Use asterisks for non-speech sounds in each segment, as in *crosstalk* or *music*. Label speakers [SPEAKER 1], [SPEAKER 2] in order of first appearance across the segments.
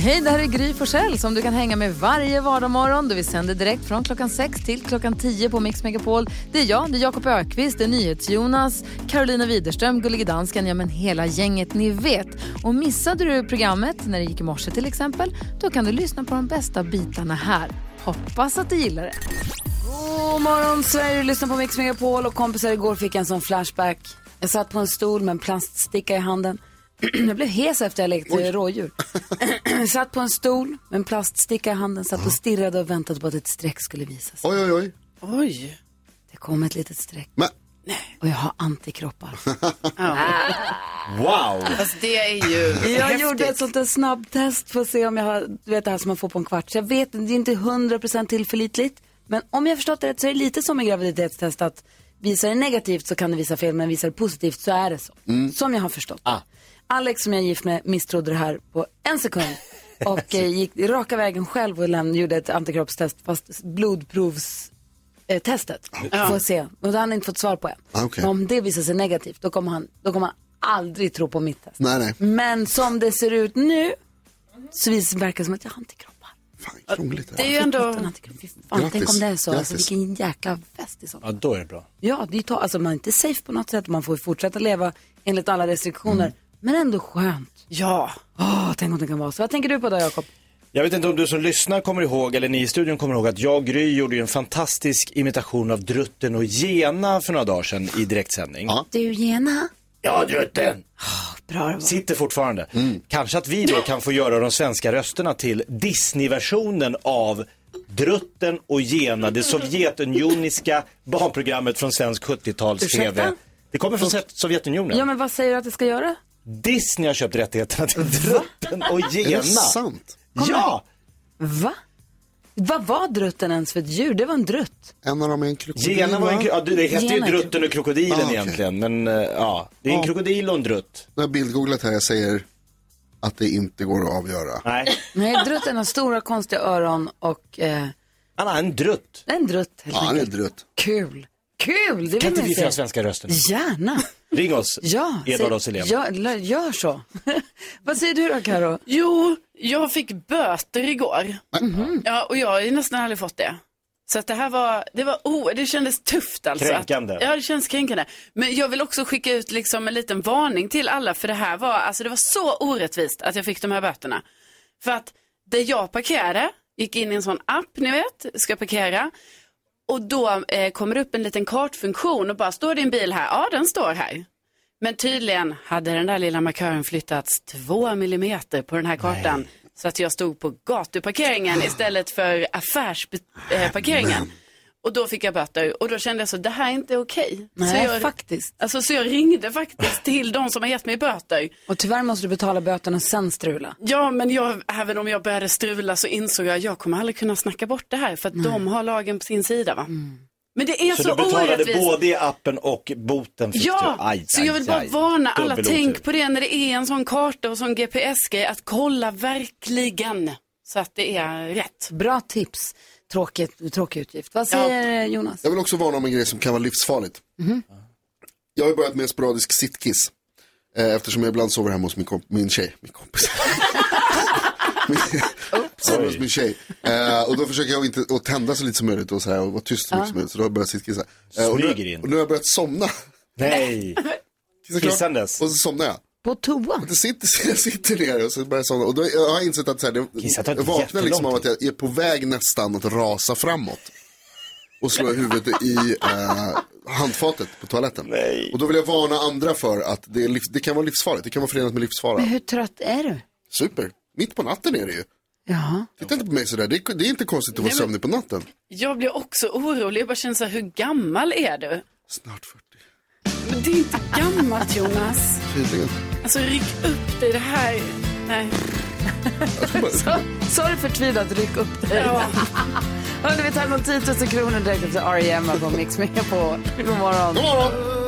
[SPEAKER 1] Hej, det här är Gry Forssell som du kan hänga med varje vardagsmorgon. Vi sänder direkt från klockan 6 till klockan 10 på Mix Megapol. Det är jag, det är Jakob Ökvist, det är NyhetsJonas, Carolina Widerström, Gullige Dansken, ja men hela gänget ni vet. Och missade du programmet när det gick i morse till exempel, då kan du lyssna på de bästa bitarna här. Hoppas att du gillar det.
[SPEAKER 2] God morgon Sverige, du lyssnar på Mix Megapol och kompisar igår fick jag en sån flashback. Jag satt på en stol med en plaststicka i handen. *clears throat* jag blev hes efter jag lekt eh, rådjur. *clears throat* satt på en stol med en plaststicka i handen, satt och stirrade och väntade på att ett streck skulle visa sig.
[SPEAKER 3] Oj, oj, oj.
[SPEAKER 2] Oj. Det kom ett litet streck
[SPEAKER 3] Men,
[SPEAKER 2] och jag har antikroppar.
[SPEAKER 3] wow!
[SPEAKER 4] Alltså det är ju
[SPEAKER 2] Jag
[SPEAKER 4] häftigt.
[SPEAKER 2] gjorde ett sånt där snabbtest för att se om jag har, du vet det här som man får på en kvart. Så jag vet, det är inte 100% tillförlitligt. Men om jag förstått det rätt så är det lite som en graviditetstest att visar det negativt så kan det visa fel men visar det positivt så är det så.
[SPEAKER 3] Mm.
[SPEAKER 2] Som jag har förstått
[SPEAKER 3] Ah.
[SPEAKER 2] det. Alex som jag är gift med misstrodde det här på en
[SPEAKER 3] *laughs*
[SPEAKER 2] sekund. Och eh, gick raka vägen själv och lämnade, gjorde ett antikroppstest fast blodprovs eh, testet. Får se. Och det har han inte fått svar på än.
[SPEAKER 3] Ah, okej.
[SPEAKER 2] Men om det visar sig negativt, då kommer han, då kommer han aldrig tro på mitt test.
[SPEAKER 3] Nej, nej.
[SPEAKER 2] Men som det ser ut nu så vis- verkar det som att jag har antikroppar.
[SPEAKER 3] Fan, krångligt.
[SPEAKER 4] Det är
[SPEAKER 3] här.
[SPEAKER 4] ju
[SPEAKER 2] En
[SPEAKER 4] ändå,
[SPEAKER 2] antikropp. Fy Fan, tänk
[SPEAKER 3] Grattis.
[SPEAKER 2] om det är så. Alltså,
[SPEAKER 3] Grattis.
[SPEAKER 2] vilken jäkla fest i sånt.
[SPEAKER 5] Ja, då är det bra.
[SPEAKER 2] Ja, det är ta- alltså, man är inte safe på något sätt. Man får ju fortsätta leva enligt alla restriktioner.
[SPEAKER 5] Mm.
[SPEAKER 2] Men ändå skönt.
[SPEAKER 4] ja.
[SPEAKER 2] Åh, tänk om det kan vara så. Vad tänker du på då, Jakob?
[SPEAKER 5] Jag vet inte om du som lyssnar kommer ihåg, eller ni i studion kommer ihåg, att jag Gry gjorde ju en fantastisk imitation av Drutten och Gena för några dagar sedan i direktsändning.
[SPEAKER 3] Ja.
[SPEAKER 2] Du, Gena.
[SPEAKER 5] Ja, Drutten!
[SPEAKER 2] Ah, Bra det var.
[SPEAKER 5] Sitter fortfarande.
[SPEAKER 3] Mm.
[SPEAKER 5] Kanske att vi då kan få göra de svenska rösterna till Disney-versionen av Drutten och Gena, det sovjetunioniska barnprogrammet från svensk 70-tals-TV.
[SPEAKER 2] Ursäkta?
[SPEAKER 5] Det kommer från Sovjet- Sovjetunionen.
[SPEAKER 2] Ja, men vad säger du att det ska göra?
[SPEAKER 5] Disney har köpt rättigheterna till Drutten och
[SPEAKER 3] Är
[SPEAKER 5] Gena.
[SPEAKER 3] det sant?
[SPEAKER 5] Ja!
[SPEAKER 2] Va? Vad var drutten ens för ett djur? Det var en drutt.
[SPEAKER 3] En av dem är en krokodil,
[SPEAKER 5] Gena var en,
[SPEAKER 3] va?
[SPEAKER 5] kro- ja, det hette ju
[SPEAKER 2] Gena är
[SPEAKER 5] drutten och krokodilen
[SPEAKER 3] Ah, okej.
[SPEAKER 5] egentligen, men eh, ja, det är en krokodil och en drutt.
[SPEAKER 3] Nu har jag bildgooglat här, jag säger att det inte går att avgöra.
[SPEAKER 5] Nej,
[SPEAKER 2] Nej, drutten har stora konstiga öron och eh,
[SPEAKER 5] han har en drutt.
[SPEAKER 2] en drutt helt
[SPEAKER 3] Ja, han är
[SPEAKER 2] enkelt.
[SPEAKER 3] drutt.
[SPEAKER 2] Kul! Kul! Det
[SPEAKER 5] Kan
[SPEAKER 2] vill
[SPEAKER 5] inte vi få
[SPEAKER 2] man
[SPEAKER 5] göra
[SPEAKER 2] se.
[SPEAKER 5] svenska rösten?
[SPEAKER 2] Gärna!
[SPEAKER 5] Ring oss,
[SPEAKER 2] Ja,
[SPEAKER 5] Edvard
[SPEAKER 2] säg-
[SPEAKER 5] och Selena.
[SPEAKER 2] ja, la- gör så. *laughs* Vad säger du då Karo?
[SPEAKER 4] Jo, jag fick böter igår. Ja, och jag har ju nästan aldrig fått det. Så att det här var, det var, oh, det kändes tufft alltså.
[SPEAKER 5] Kränkande.
[SPEAKER 4] Att, ja, det känns kränkande. Men jag vill också skicka ut liksom en liten varning till alla, för det här var, alltså det var så orättvist att jag fick de här böterna. För att där jag parkerade, gick in i en sån app, ni vet, ska parkera. Och då eh, kommer det upp en liten kartfunktion och bara, står din bil här? Ja, den står här. Men tydligen hade den där lilla markören flyttats två millimeter på den här kartan. Så att jag stod på
[SPEAKER 5] Ah.
[SPEAKER 4] gatuparkeringen istället för affärsparkeringen. Och då fick jag böter och då kände jag så, det här är inte okej. Så,
[SPEAKER 2] Nej,
[SPEAKER 4] jag-
[SPEAKER 2] faktiskt.
[SPEAKER 4] alltså, så jag ringde faktiskt till de som har gett mig böter.
[SPEAKER 2] Och tyvärr måste du betala böterna och sen strula.
[SPEAKER 4] Ja, men jag, även om jag började strula så insåg jag att jag kommer aldrig kunna snacka bort det här för att de har lagen på sin sida. Va? Men det är
[SPEAKER 5] Mm. Så,
[SPEAKER 4] så,
[SPEAKER 5] du betalade
[SPEAKER 4] orättvist.
[SPEAKER 5] både i appen och boten fick
[SPEAKER 4] Ja,
[SPEAKER 5] du? Aj,
[SPEAKER 4] så
[SPEAKER 5] aj,
[SPEAKER 4] jag vill bara
[SPEAKER 5] aj.
[SPEAKER 4] varna alla.
[SPEAKER 5] Dubbel
[SPEAKER 4] Tänk
[SPEAKER 5] otur.
[SPEAKER 4] på det när det är en sån karta och sån GPS-grej, att kolla verkligen så att det är rätt.
[SPEAKER 2] Bra tips. Tråkigt, tråkig utgift. Vad
[SPEAKER 4] Ja.
[SPEAKER 2] säger eh, Jonas?
[SPEAKER 3] Jag vill också varna om en grej som kan vara livsfarligt.
[SPEAKER 5] Mhm.
[SPEAKER 3] Jag har ju börjat med sporadisk sittkiss. Eh, eftersom jag ibland sover hemma hos min, komp- min tjej. Min
[SPEAKER 5] *laughs*
[SPEAKER 3] kompis. min, sover hos min tjej. Eh, och då försöker jag inte att tända så lite som möjligt och, så här, och vara tyst så mycket som möjligt. Så då har jag börjat sittkissa. Eh, och, nu,
[SPEAKER 5] Smyger in.
[SPEAKER 3] och nu har jag börjat somna.
[SPEAKER 5] Nej,
[SPEAKER 3] Kissa klart.
[SPEAKER 5] Kissandes.
[SPEAKER 3] Och så somnar jag.
[SPEAKER 2] På toa?
[SPEAKER 3] Jag sitter, *laughs* jag sitter ner och så börjar jag somna. Och då jag har jag insett att så här, det,
[SPEAKER 5] Kissa tar
[SPEAKER 3] jag vaknar
[SPEAKER 5] jättelång
[SPEAKER 3] liksom av att
[SPEAKER 5] tid.
[SPEAKER 3] jag är på väg nästan att rasa framåt. Och slår huvudet i eh, handfatet på toaletten. Och då vill jag varna andra för att det, är livs, det kan vara livsfarligt. Det kan vara förenat med livsfara.
[SPEAKER 2] Hur trött är du?
[SPEAKER 3] Super. Mitt på natten är det ju.
[SPEAKER 2] Ja.
[SPEAKER 3] Titta inte på mig sådär. Det, är- det är inte konstigt att vara sömnig på natten.
[SPEAKER 4] Jag blir också orolig, jag bara känner så här, hur gammal är du?
[SPEAKER 3] Snart 40.
[SPEAKER 4] Men det är inte gammalt Jonas.
[SPEAKER 3] Tydligen.
[SPEAKER 4] Alltså ryck upp dig, det här, nej.
[SPEAKER 3] Jag ska bara-
[SPEAKER 2] Sorry förtvivlat, ryck upp *laughs* dig.
[SPEAKER 4] Ja.
[SPEAKER 2] E Hörni, vi tar emot 10 000 kronor direkt efter R.E.M. på Mix Megapol. *laughs* God morgon.
[SPEAKER 3] God morgon!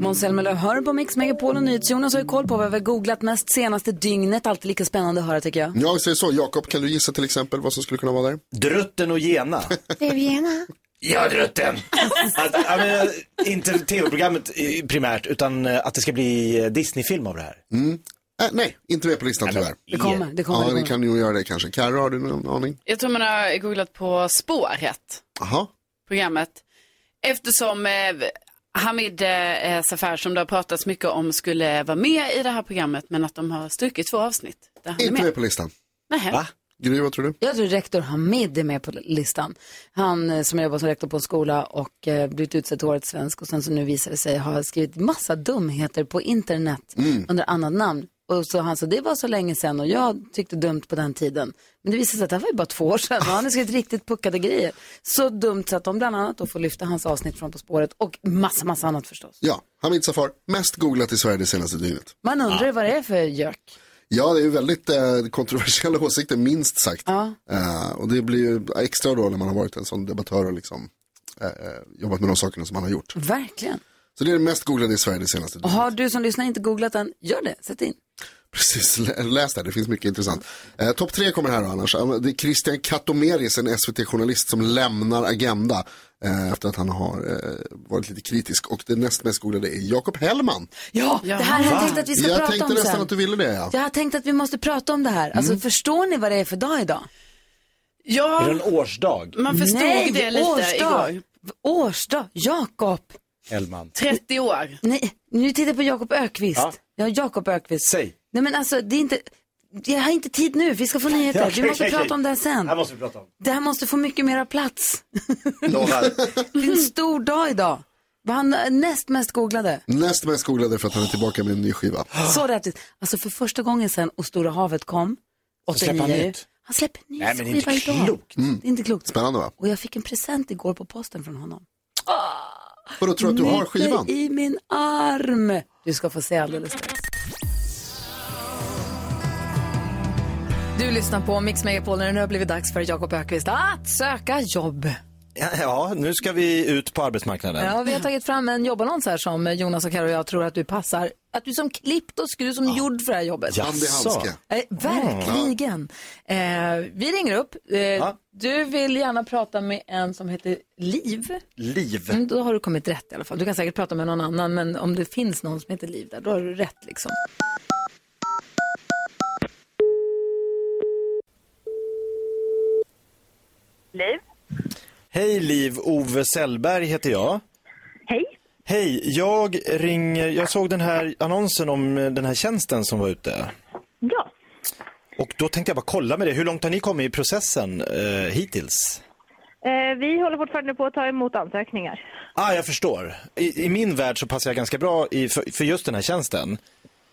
[SPEAKER 2] Måns Zelmerlöw hör på Mix Megapol och NyhetsJonas har ju koll på vad vi har googlat mest senaste dygnet. Alltid lika spännande att höra tycker jag.
[SPEAKER 3] Ja, vi säger så. Jakob, kan du gissa till exempel vad som skulle kunna vara där?
[SPEAKER 5] Drutten och Gena. *laughs* Ja, Drutten! *laughs* Att, ja, men, eh, inte tv-programmet eh, primärt, utan eh, att det ska bli eh, Disney-film av det här.
[SPEAKER 3] Äh, nej, inte med på listan tyvärr.
[SPEAKER 2] Det kommer, det kommer.
[SPEAKER 3] Ja,
[SPEAKER 2] det
[SPEAKER 3] ni
[SPEAKER 2] kommer.
[SPEAKER 3] kan ju göra det kanske. Carro, har du någon aning?
[SPEAKER 4] Jag tror man har googlat på spåret,
[SPEAKER 3] Jaha.
[SPEAKER 4] programmet. Eftersom eh, Hamid eh, Safar som det har pratats mycket om skulle vara med i det här programmet men att de har strukit två avsnitt där han är
[SPEAKER 3] Inte
[SPEAKER 4] med.
[SPEAKER 3] med på listan.
[SPEAKER 4] Nähä.
[SPEAKER 5] Va?
[SPEAKER 3] Gry, vad tror du?
[SPEAKER 2] Jag tror rektor Hamid är med på listan. Han eh, som jobbar som rektor på en skola och eh, blivit utsedd till årets svensk och sen så nu visar det sig ha skrivit massa dumheter på internet
[SPEAKER 3] Mm.
[SPEAKER 2] under annat namn. Och så han sa, det var så länge sedan och jag tyckte dumt på den tiden. Men det visade sig att det här var ju bara två år sedan och han har skrivit riktigt puckade grejer. Så dumt så att de bland annat då får lyfta hans avsnitt från På spåret och massa, massa annat förstås.
[SPEAKER 3] Ja, Hamid Safar, mest googlat i Sverige det senaste dygnet.
[SPEAKER 2] Man undrar ju vad det är för gök.
[SPEAKER 3] Ja, det är ju väldigt eh, kontroversiella *laughs* åsikter, minst sagt.
[SPEAKER 2] Ja.
[SPEAKER 3] Eh, och det blir ju extra då när man har varit en sån debattör och liksom eh, eh, jobbat med de sakerna som man har gjort.
[SPEAKER 2] Verkligen.
[SPEAKER 3] Så det är det mest googlade i Sverige det senaste
[SPEAKER 2] Och
[SPEAKER 3] dygnet.
[SPEAKER 2] har du som lyssnar inte googlat än, gör det. Sätt in.
[SPEAKER 3] Precis, lä- läs där, det finns mycket intressant. Eh, Topp tre kommer här då, annars. Eh, Det är Christian Katomeris, en SVT-journalist som lämnar Agenda eh, efter att han har eh, varit lite kritisk. Och det näst mest googlade är Jakob Hellman.
[SPEAKER 2] Ja, det här har jag tänkt att vi ska
[SPEAKER 3] Jag
[SPEAKER 2] prata
[SPEAKER 3] tänkte
[SPEAKER 2] om
[SPEAKER 3] nästan
[SPEAKER 2] sen.
[SPEAKER 3] att du ville det. Ja.
[SPEAKER 2] Jag har tänkt att vi måste prata om det här. Alltså,
[SPEAKER 5] Mm.
[SPEAKER 2] förstår ni vad det är för dag idag?
[SPEAKER 5] Är det
[SPEAKER 4] Ja,
[SPEAKER 5] en årsdag,
[SPEAKER 4] man förstod
[SPEAKER 2] Nej,
[SPEAKER 4] det lite
[SPEAKER 2] årsdag.
[SPEAKER 4] igår.
[SPEAKER 2] Årsdag, Jakob.
[SPEAKER 5] Hellman?
[SPEAKER 4] 30 år.
[SPEAKER 2] Nej, nu tittar jag på Jakob Ökvist. Ja,
[SPEAKER 5] Ja.
[SPEAKER 2] Jakob Ökvist.
[SPEAKER 5] Säg.
[SPEAKER 2] Nej men alltså, det är inte... Jag har inte tid nu, vi ska få nyheter.
[SPEAKER 5] Okej,
[SPEAKER 2] vi måste
[SPEAKER 5] okej,
[SPEAKER 2] prata
[SPEAKER 5] okej.
[SPEAKER 2] om det här sen.
[SPEAKER 5] Det här måste vi prata om.
[SPEAKER 2] Det här måste få mycket mera plats.
[SPEAKER 5] Lovar.
[SPEAKER 2] Det är en stor dag idag. Var han näst mest googlade?
[SPEAKER 3] Näst mest googlade för att han är tillbaka med en ny skiva.
[SPEAKER 5] Ah.
[SPEAKER 2] Så rättvist. Alltså för första gången sen Och stora havet kom,
[SPEAKER 5] Så släpper han
[SPEAKER 2] 89 ju.
[SPEAKER 5] nytt.
[SPEAKER 2] Han släpper en ny
[SPEAKER 5] Nej, men det är inte
[SPEAKER 2] skiva idag.
[SPEAKER 5] klokt.
[SPEAKER 2] Det är inte klokt.
[SPEAKER 3] Spännande va?
[SPEAKER 2] Och jag fick en present igår på posten från honom.
[SPEAKER 3] Och då tror jag att du har skivan.
[SPEAKER 2] Nyper i min arm. Du ska få se alldeles strax. Du lyssnar på Mix Megapol när det nu har blivit dags för Jakob Ökvist att söka jobb.
[SPEAKER 5] Ja, Ja, nu ska vi ut på arbetsmarknaden.
[SPEAKER 2] Ja, vi har tagit fram en jobbannons här som Jonas och Karo och jag tror att du passar. Att du som klippt och skruv som gjord för det här jobbet.
[SPEAKER 3] Hand i handske.
[SPEAKER 2] Eh, verkligen. Eh, vi ringer upp. Eh, Du vill gärna prata med en som heter Liv.
[SPEAKER 5] Liv.
[SPEAKER 2] Mm, då har du kommit rätt i alla fall. Du kan säkert prata med någon annan, men om det finns någon som heter Liv där, då har du rätt liksom.
[SPEAKER 6] Liv.
[SPEAKER 5] Hej Liv, Ove Sellberg heter jag.
[SPEAKER 6] Hej.
[SPEAKER 5] Hej, jag ringer, jag såg den här annonsen om eh, den här tjänsten som var ute.
[SPEAKER 6] Ja.
[SPEAKER 5] Och då tänkte jag bara kolla med dig, hur långt har ni kommit i processen eh, hittills?
[SPEAKER 6] Eh, vi håller fortfarande på att ta emot ansökningar.
[SPEAKER 5] Ah, jag förstår. I, I min värld så passar jag ganska bra i, för, för just den här tjänsten.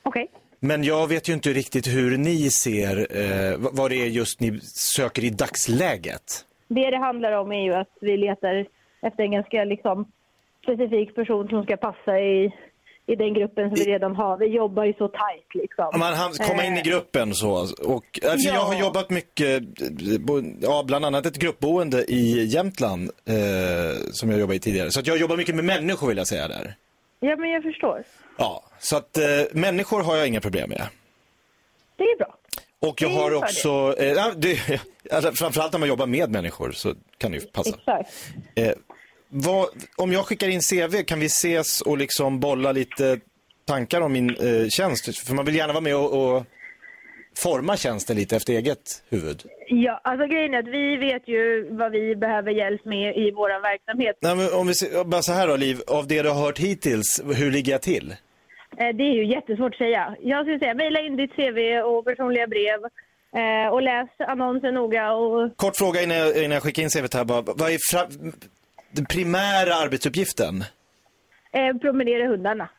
[SPEAKER 6] Okej.
[SPEAKER 5] Men jag vet ju inte riktigt hur ni ser, eh, vad vad det är just ni söker i dagsläget.
[SPEAKER 6] Det det handlar om är ju att vi letar efter en ganska liksom, specifik person som ska passa i, i den gruppen som vi redan har. Vi jobbar ju så tajt liksom.
[SPEAKER 5] Om man hann komma in i gruppen så. Och, eh, för
[SPEAKER 6] Ja.
[SPEAKER 5] Jag har jobbat mycket, eh, bo- ja, bland annat ett gruppboende i Jämtland eh, som jag jobbade i tidigare. Så att jag jobbar mycket med människor vill jag säga där.
[SPEAKER 6] Ja, men jag förstår.
[SPEAKER 5] Ja, så att eh, människor har jag inga problem med.
[SPEAKER 6] Det är bra.
[SPEAKER 5] Och jag
[SPEAKER 6] Det är
[SPEAKER 5] har
[SPEAKER 6] en
[SPEAKER 5] också, eh, ja, det, *laughs* alltså, framförallt när man jobbar med människor så kan det ju passa.
[SPEAKER 6] Exakt.
[SPEAKER 5] Eh, vad, om jag skickar in CV, kan vi ses och liksom bolla lite tankar om min eh, tjänst? För man vill gärna vara med och, och forma tjänsten lite efter eget huvud.
[SPEAKER 6] Ja, alltså grejen är att vi vet ju vad vi behöver hjälp med i vår verksamhet.
[SPEAKER 5] Nej, men om vi ser, bara så här då, Liv, av det du har hört hittills, hur ligger jag till?
[SPEAKER 6] Eh, Det är ju jättesvårt att säga. Jag skulle säga mejla in ditt CV och personliga brev eh, och läs annonsen noga och
[SPEAKER 5] Kort fråga innan jag, innan jag skickar in CVt här bara, vad är fra, den primära arbetsuppgiften?
[SPEAKER 6] eh, promenera hundarna.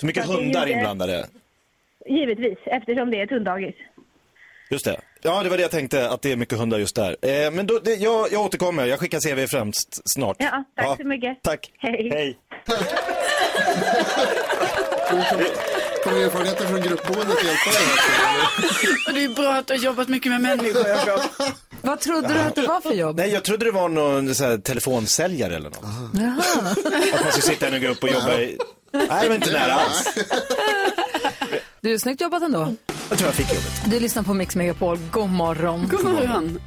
[SPEAKER 5] Så mycket
[SPEAKER 6] Ja, det är ju
[SPEAKER 5] hundar
[SPEAKER 6] det.
[SPEAKER 5] inblandade.
[SPEAKER 6] Givetvis, eftersom det är ett hunddagis.
[SPEAKER 5] Just det. Ja, det var det jag tänkte, att det är mycket hundar just där. Eh, men då, det, jag, jag återkommer, jag skickar CV främst snart.
[SPEAKER 6] Ja, tack så mycket.
[SPEAKER 5] Tack.
[SPEAKER 6] Hej.
[SPEAKER 5] Hej.
[SPEAKER 3] Kommer erfarenheten från gruppboendet hjälpa dig?
[SPEAKER 4] Och det är bra att du har jobbat mycket med människor. Jakob.
[SPEAKER 2] Vad trodde du att det var för jobb?
[SPEAKER 5] Nej, jag trodde det var någon så här, telefonsäljare eller något. Att man skulle sitta i en grupp och jobba i Nej, det var inte nära alls.
[SPEAKER 1] Du, snyggt jobbat ändå.
[SPEAKER 5] Jag tror jag fick jobbet.
[SPEAKER 1] Du lyssnar på Mix Megapol. God morgon.
[SPEAKER 4] God morgon.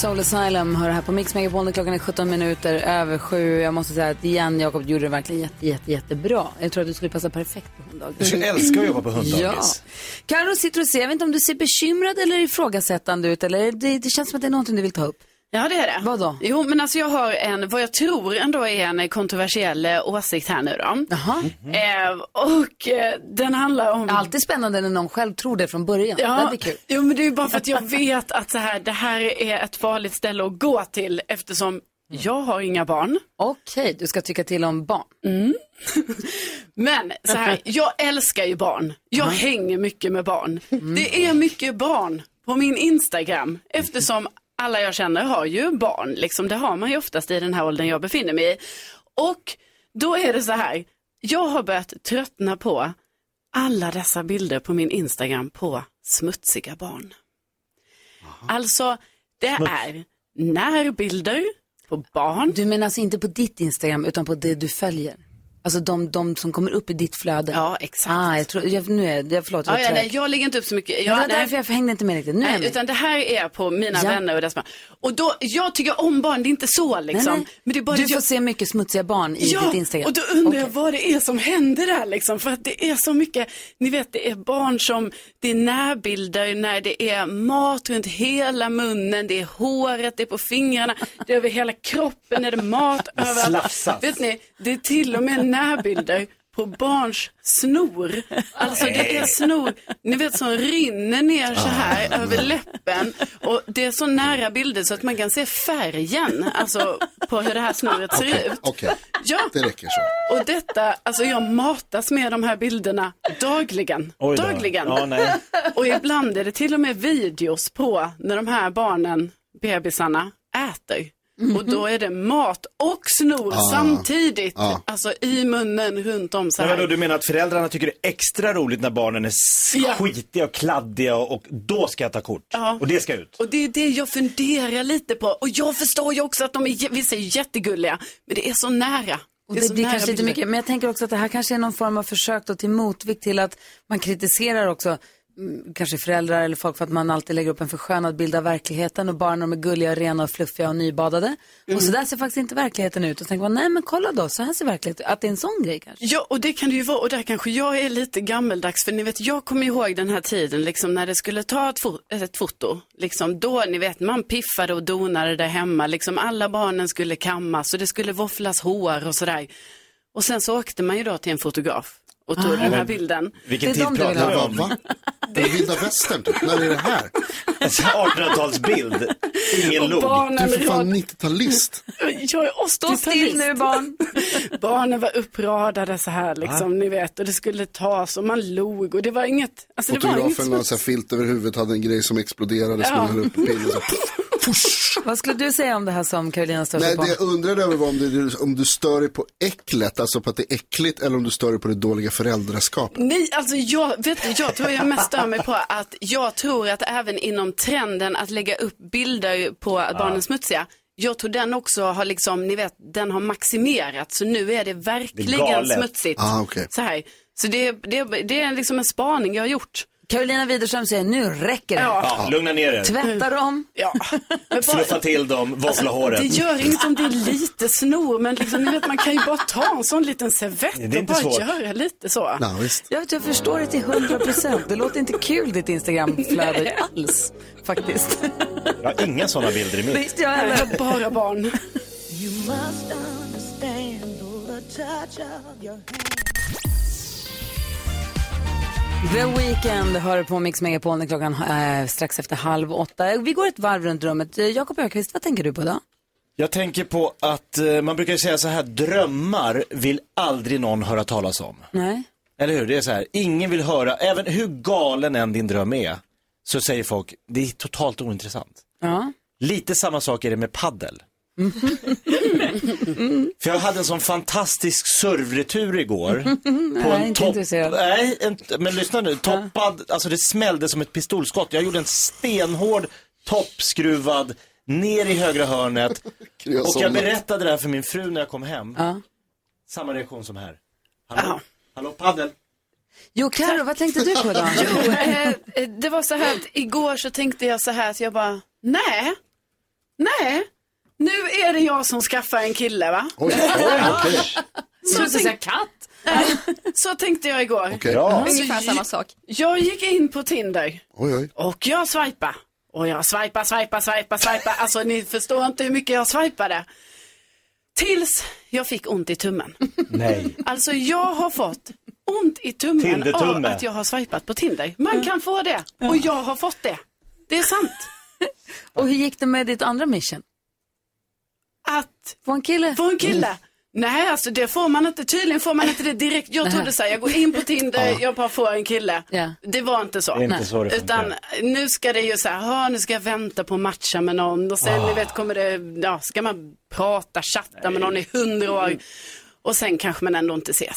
[SPEAKER 2] Soul Asylum hör här på Mix Megapol. när Klockan är 17 minuter över sju. Jag måste säga att igen, Jakob, du gjorde det verkligen jätte, jätte, jättebra. Jag tror att du skulle passa perfekt på
[SPEAKER 5] Jag
[SPEAKER 2] hunddagis.
[SPEAKER 5] skulle älska att jobba på
[SPEAKER 2] Ja.
[SPEAKER 5] hunddagis.
[SPEAKER 2] Carro sitter och ser, jag vet inte om du ser bekymrad eller ifrågasättande ut. Eller det, det känns som att det är någonting du vill ta upp.
[SPEAKER 4] Ja, det är det.
[SPEAKER 2] Vad då?
[SPEAKER 4] Jo, men alltså jag har en, vad jag tror ändå är en kontroversiell eh, åsikt här nu då.
[SPEAKER 2] Jaha.
[SPEAKER 4] Eh, och eh, den handlar om...
[SPEAKER 2] Det är alltid spännande när någon själv tror det från början. Det blir kul.
[SPEAKER 4] Jo, men det är ju bara för att jag vet att så här, det här är ett farligt ställe att gå till
[SPEAKER 2] Mm.
[SPEAKER 4] eftersom jag har inga barn.
[SPEAKER 2] Okej, du ska tycka till om barn.
[SPEAKER 4] Men
[SPEAKER 2] *laughs*
[SPEAKER 4] så här, jag älskar ju barn. Jag hänger mycket med barn.
[SPEAKER 2] Mm.
[SPEAKER 4] Det är mycket barn på min Instagram eftersom alla jag känner har ju barn. Liksom, det har man ju oftast i den här åldern jag befinner mig i. Och då är det så här, jag har börjat tröttna på alla dessa bilder på min Instagram på smutsiga barn. Alltså, det är närbilder på barn.
[SPEAKER 2] Du menar alltså inte på ditt Instagram utan på det du följer? Alltså de, de som kommer upp i ditt flöde?
[SPEAKER 4] Ja, exakt.
[SPEAKER 2] Ah, jag tror, jag, nu är jag, förlåt, jag
[SPEAKER 4] Ja,
[SPEAKER 2] var
[SPEAKER 4] ja,
[SPEAKER 2] trög.
[SPEAKER 4] nej, jag lägger inte upp så mycket.
[SPEAKER 2] Men
[SPEAKER 4] Jag,
[SPEAKER 2] det var
[SPEAKER 4] nej.
[SPEAKER 2] därför jag hängde inte med riktigt. Nu är jag
[SPEAKER 4] Nej,
[SPEAKER 2] med.
[SPEAKER 4] utan det här är på mina
[SPEAKER 2] Ja.
[SPEAKER 4] vänner och deras barn. Och då, jag tycker om barn, det är inte så
[SPEAKER 2] Nej,
[SPEAKER 4] liksom.
[SPEAKER 2] nej.
[SPEAKER 4] Men det är bara
[SPEAKER 2] du
[SPEAKER 4] att
[SPEAKER 2] får
[SPEAKER 4] jag...
[SPEAKER 2] se mycket smutsiga barn i
[SPEAKER 4] ja,
[SPEAKER 2] ditt Instagram.
[SPEAKER 4] och då undrar jag
[SPEAKER 2] Okej.
[SPEAKER 4] vad det är som händer där liksom. För att det är så mycket, ni vet det är barn som, det är närbilder när det är mat runt hela munnen, det är håret, det är på fingrarna, det är över hela kroppen, är det mat överallt.
[SPEAKER 5] slafsas.
[SPEAKER 4] Vet ni, det är till och med närbilder på barns snor. Alltså det är snor, ni vet som rinner ner så
[SPEAKER 3] Ah.
[SPEAKER 4] här över läppen. Och det är så nära bilder så att man kan se färgen, alltså på hur det här snoret ser ut.
[SPEAKER 3] Okej,
[SPEAKER 4] Ja,
[SPEAKER 3] det räcker så.
[SPEAKER 4] och detta, alltså jag matas med de här bilderna dagligen.
[SPEAKER 5] Oj då.
[SPEAKER 4] dagligen.
[SPEAKER 5] Ja, nej.
[SPEAKER 4] Och ibland är det till och med videos på när de här barnen, bebisarna, äter.
[SPEAKER 3] Mhm.
[SPEAKER 4] Och då är det mat och snor samtidigt.
[SPEAKER 3] Ah.
[SPEAKER 4] Alltså i munnen runt om så
[SPEAKER 5] Men
[SPEAKER 4] här.
[SPEAKER 5] vadå, du menar att föräldrarna tycker det är extra roligt när barnen är s-
[SPEAKER 4] Ja.
[SPEAKER 5] skitiga och kladdiga och, och då ska jag ta kort?
[SPEAKER 4] Ja.
[SPEAKER 5] Och det ska ut?
[SPEAKER 4] Och det är det jag funderar lite på. Och jag förstår ju också att de är, jä- vissa är jättegulliga. Men det är så nära.
[SPEAKER 2] Och
[SPEAKER 4] är
[SPEAKER 2] det
[SPEAKER 4] så
[SPEAKER 2] blir
[SPEAKER 4] nära
[SPEAKER 2] kanske lite
[SPEAKER 4] bilder.
[SPEAKER 2] mycket, men jag tänker också att det här kanske är någon form av försök då till motvikt till att man kritiserar också mm, kanske föräldrar eller folk för att man alltid lägger upp en förskönad bild av verkligheten och barnen de är gulliga, och rena och fluffiga och nybadade.
[SPEAKER 4] Mm.
[SPEAKER 2] Och så där ser faktiskt inte verkligheten ut. Och så tänker man, nej men kolla då, så här ser verkligheten ut. Att det är en sån grej kanske.
[SPEAKER 4] Ja, och det kan det ju vara. Och där kanske jag är lite gammeldags. För ni vet, jag kommer ihåg den här tiden liksom, när det skulle ta ett, fo- ett foto. Liksom, då, ni vet, man piffade och donade där hemma. Liksom, alla barnen skulle kammas och det skulle våfflas hår och sådär. Och sen så åkte man ju då till en fotograf och
[SPEAKER 2] Ah.
[SPEAKER 4] tog den här bilden.
[SPEAKER 2] Det
[SPEAKER 5] Vilken
[SPEAKER 2] är
[SPEAKER 5] tid
[SPEAKER 2] de du vill
[SPEAKER 5] pratar vi
[SPEAKER 3] Va,
[SPEAKER 5] om?
[SPEAKER 3] va? Det är vilda västern typ, när är det här?
[SPEAKER 5] En 1800-talsbild. Ingen
[SPEAKER 4] Och
[SPEAKER 5] lugg.
[SPEAKER 3] Du är
[SPEAKER 4] barnen,
[SPEAKER 3] för fan
[SPEAKER 4] rad...
[SPEAKER 3] 90-talist.
[SPEAKER 4] jag är
[SPEAKER 2] Stå still nu barn!
[SPEAKER 4] *laughs* Barnen var uppradade så här liksom, ni vet. Och det skulle tas och man log och det var inget, alltså det var inget
[SPEAKER 3] Fotografen la så här filt över huvudet, hade en grej som exploderade, som
[SPEAKER 4] Ja.
[SPEAKER 3] man höll upp i pinnen.
[SPEAKER 4] *laughs*
[SPEAKER 3] så-
[SPEAKER 2] Vad skulle du säga om det här som Karolina står
[SPEAKER 3] Nej,
[SPEAKER 2] på?
[SPEAKER 3] det jag undrade över var om du, om du stör dig på äcklet, alltså på att det är äckligt, eller om du stör dig på det dåliga föräldraskapet.
[SPEAKER 4] Nej, alltså jag, vet du, jag tror jag mest stör mig på att jag tror att även inom trenden att lägga upp bilder på att barnen är smutsiga, jag tror den också har liksom, ni vet, den har maximerats. Så nu är det verkligen
[SPEAKER 5] galet.
[SPEAKER 4] smutsigt.
[SPEAKER 3] Ah, okej.
[SPEAKER 4] Så, här. så det, det, det är liksom en spaning jag har gjort.
[SPEAKER 2] Karolina Widerström säger, nu räcker det.
[SPEAKER 4] Ja,
[SPEAKER 5] Ja, lugna ner er.
[SPEAKER 2] Tvätta dem.
[SPEAKER 4] ja. Men bara-
[SPEAKER 5] Fluffa till dem, våffla
[SPEAKER 4] det
[SPEAKER 5] håret.
[SPEAKER 4] gör inget om det är lite snor, men liksom, ni vet, man kan ju bara ta en sån liten
[SPEAKER 5] Det är
[SPEAKER 4] servett
[SPEAKER 5] inte
[SPEAKER 4] och bara
[SPEAKER 5] svårt.
[SPEAKER 4] göra lite så.
[SPEAKER 3] Ja, visst.
[SPEAKER 2] Jag, vet, jag förstår det till 100 procent. Det låter inte kul ditt Instagramflöde alls faktiskt.
[SPEAKER 5] Jag har inga sådana bilder i mitt.
[SPEAKER 2] Visst jag
[SPEAKER 4] Jag
[SPEAKER 2] heller.
[SPEAKER 4] har bara barn.
[SPEAKER 2] The Weeknd hör på Mix Megapol när klockan är strax efter halv åtta. Vi går ett varv runt rummet. Eh, Jakob Ökvist, vad tänker du på då?
[SPEAKER 5] Jag tänker på att eh, man brukar säga så här, drömmar vill aldrig någon höra talas om.
[SPEAKER 2] Nej?
[SPEAKER 5] Eller hur? Det är så här, ingen vill höra, även hur galen än din dröm är, så säger folk, det är totalt ointressant.
[SPEAKER 2] Ja.
[SPEAKER 5] Lite samma sak är det
[SPEAKER 2] *laughs*
[SPEAKER 5] med paddel. För jag hade en sån fantastisk
[SPEAKER 2] *laughs*
[SPEAKER 5] servretur igår. på
[SPEAKER 2] jag är inte intresserad.
[SPEAKER 5] Nej, en, men lyssna nu. Toppad, alltså det smällde som ett pistolskott. Jag gjorde en stenhård, toppskruvad ner i högra hörnet.
[SPEAKER 3] Jag
[SPEAKER 5] Och jag
[SPEAKER 3] somnade.
[SPEAKER 5] berättade det här för min fru när jag kom hem.
[SPEAKER 2] Ja.
[SPEAKER 5] Samma reaktion som här. Hallå, hallå paddel.
[SPEAKER 2] Jo, Carro, vad tänkte du
[SPEAKER 7] *laughs*
[SPEAKER 2] på då?
[SPEAKER 4] Jo, eh, eh, det var så här att igår så tänkte jag så här att jag bara, nej, nej, nu är det jag som skaffar en kille va?
[SPEAKER 3] Oj, oj, okej.
[SPEAKER 4] Så,
[SPEAKER 7] Så säga
[SPEAKER 4] tänk,
[SPEAKER 7] katt.
[SPEAKER 4] så tänkte jag igår.
[SPEAKER 3] Okej.
[SPEAKER 5] Bra.
[SPEAKER 4] Alltså,
[SPEAKER 7] Ungefär samma sak.
[SPEAKER 4] Jag gick in på Tinder
[SPEAKER 3] Oj, oj.
[SPEAKER 4] och jag swipa. Och jag swipa, swipa, swipa, swipa. Alltså ni förstår inte hur mycket jag swipade. Tills jag fick ont i tummen.
[SPEAKER 5] Nej.
[SPEAKER 4] Alltså jag har fått ont i tummen av
[SPEAKER 5] Tindertumme.
[SPEAKER 4] att jag har swipat på Tinder. Man kan få det och jag har fått det. Det är sant.
[SPEAKER 2] Och hur gick det med ditt andra mission?
[SPEAKER 4] Att
[SPEAKER 2] Få en kille?
[SPEAKER 4] få en kille. Nej, alltså det får man inte. Tydligen får man inte det direkt. Jag trodde så här, jag går in på Tinder, jag bara får en kille.
[SPEAKER 2] Ja.
[SPEAKER 4] Det var inte så.
[SPEAKER 5] Det är inte så det funkar.
[SPEAKER 4] Utan nu ska det ju så här, "Ha, nu ska jag vänta på att matcha med någon och sen
[SPEAKER 5] Ah.
[SPEAKER 4] ni vet kommer det, ja, ska man prata, chatta med någon i hundra år
[SPEAKER 5] Mm.
[SPEAKER 4] och sen kanske man ändå inte ses.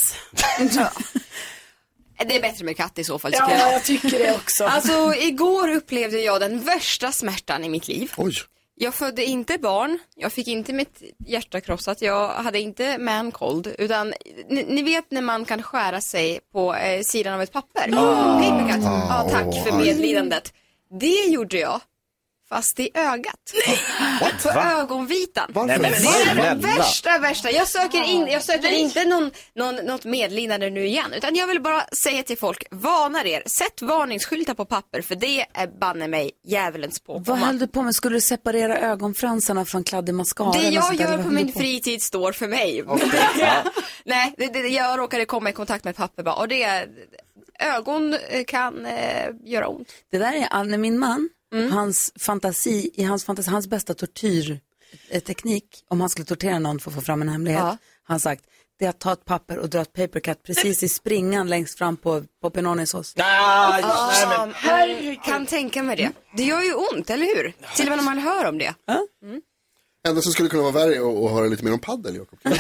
[SPEAKER 7] Det är bättre med katt i så fall. tycker
[SPEAKER 4] Ja,
[SPEAKER 7] jag.
[SPEAKER 4] jag tycker det också.
[SPEAKER 7] Alltså igår upplevde jag den värsta smärtan i mitt liv.
[SPEAKER 3] Oj.
[SPEAKER 7] Jag födde inte barn, jag fick inte mitt hjärta krossat, jag hade inte man cold, utan ni, ni vet när man kan skära sig på eh, sidan av ett papper.
[SPEAKER 4] Ah.
[SPEAKER 7] Paper cut. Ja, tack för
[SPEAKER 3] aj.
[SPEAKER 7] medlidandet. Det gjorde jag, fast i ögat. *laughs* På ögonvitan.
[SPEAKER 3] Varför?
[SPEAKER 5] men
[SPEAKER 7] Det är det
[SPEAKER 5] snälla.
[SPEAKER 7] värsta, värsta. Jag söker, in, jag söker inte någon, någon, något medlidande nu igen. Utan jag vill bara säga till folk, varnar er. Sätt varningsskyltar på papper för det är banne mig djävulens
[SPEAKER 2] Vad
[SPEAKER 7] påkomma.
[SPEAKER 2] höll du på med? Skulle du separera ögonfransarna från kladdig mascara?
[SPEAKER 7] Det
[SPEAKER 2] eller
[SPEAKER 7] jag
[SPEAKER 2] sånt alltså, där? Vad
[SPEAKER 7] gör på
[SPEAKER 2] höll du
[SPEAKER 7] min fritid står för mig. Nej, det, det, jag råkade komma i kontakt med ett papper bara, och det är, ögon eh, kan eh, göra ont.
[SPEAKER 2] Det där är all- när min man,
[SPEAKER 7] Mm.
[SPEAKER 2] hans fantasi, i hans fantasi, hans bästa tortyrteknik, om han skulle tortera någon för att få fram en hemlighet,
[SPEAKER 7] Ja.
[SPEAKER 2] har han sagt, det är att ta ett papper och dra ett papercut precis i springan längst fram på, på penonisås.
[SPEAKER 5] Ah, nej, men-
[SPEAKER 7] Um, kan tänka mig det. Det gör ju ont, eller hur? Till och med när man hör om det.
[SPEAKER 3] enda som skulle kunna vara värre är att- att höra lite mer om paddel, Jakob. Har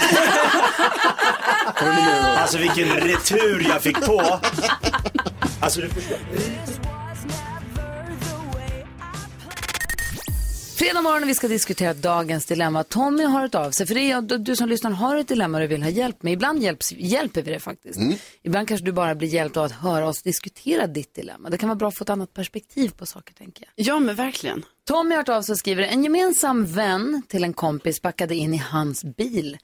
[SPEAKER 3] du något mer?
[SPEAKER 5] Alltså vilken retur jag fick på. Alltså du förstår.
[SPEAKER 2] Fredag morgon och vi ska diskutera dagens dilemma. Tommy har hört av sig, för det är du- du som lyssnar har ett dilemma du vill ha hjälp med. Ibland hjälps, hjälper vi det faktiskt. Ibland kanske du bara blir hjälpt av att höra oss diskutera ditt dilemma. Det kan vara bra att få ett annat perspektiv på saker, tänker jag.
[SPEAKER 4] Ja, men verkligen.
[SPEAKER 2] Tommy har hört av sig och skriver, en gemensam vän till en kompis backade in i hans bil.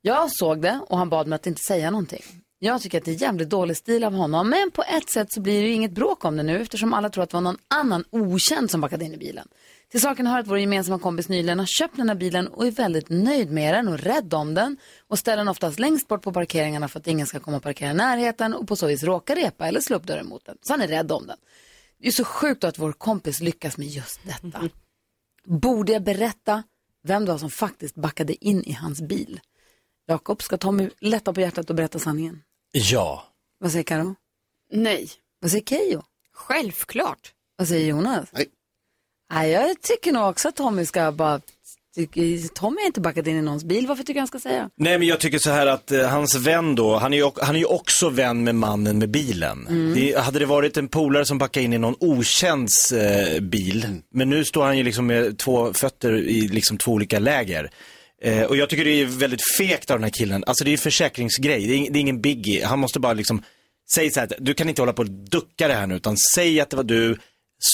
[SPEAKER 2] Jag såg det och han bad mig att inte säga någonting. Jag tycker att det är jävligt dålig stil av honom, men på ett sätt så blir det ju inget bråk om det nu eftersom alla tror att det var någon annan okänd som backade in i bilen. Till saken hör att vår gemensamma kompis nyligen har köpt den här bilen och är väldigt nöjd med den och rädd om den och ställer den oftast längst bort på parkeringarna för att ingen ska komma och parkera i närheten och på så vis råka repa eller slå upp dörren mot den. Så han är rädd om den. Det är så sjukt att vår kompis lyckas med just detta. Borde jag berätta vem det var som faktiskt backade in i hans bil? Jakob, ska Tommy lätta på hjärtat och berätta sanningen?
[SPEAKER 5] Ja.
[SPEAKER 2] Vad säger Karo?
[SPEAKER 4] Nej.
[SPEAKER 2] Vad säger Keyyo?
[SPEAKER 7] Självklart.
[SPEAKER 2] Vad säger Jonas?
[SPEAKER 3] Nej.
[SPEAKER 2] Nej, jag tycker nog också att Tommy ska bara... tycker- Tommy har inte backat in i någons bil, varför tycker jag han ska säga?
[SPEAKER 5] Nej men jag tycker så här att eh, hans vän då, han är ju, han är ju också vän med mannen med bilen.
[SPEAKER 2] Mm.
[SPEAKER 5] Det, hade det varit en polare som backade in i någon okänds eh, bil,
[SPEAKER 2] Mm.
[SPEAKER 5] men nu står han ju liksom med två fötter i liksom två olika läger. Eh, och jag tycker det är väldigt fegt av den här killen, alltså det är ju försäkringsgrej, det är, ing- det är ingen biggie. Han måste bara liksom, säg så här, att du kan inte hålla på och ducka det här nu, utan säg att det var du,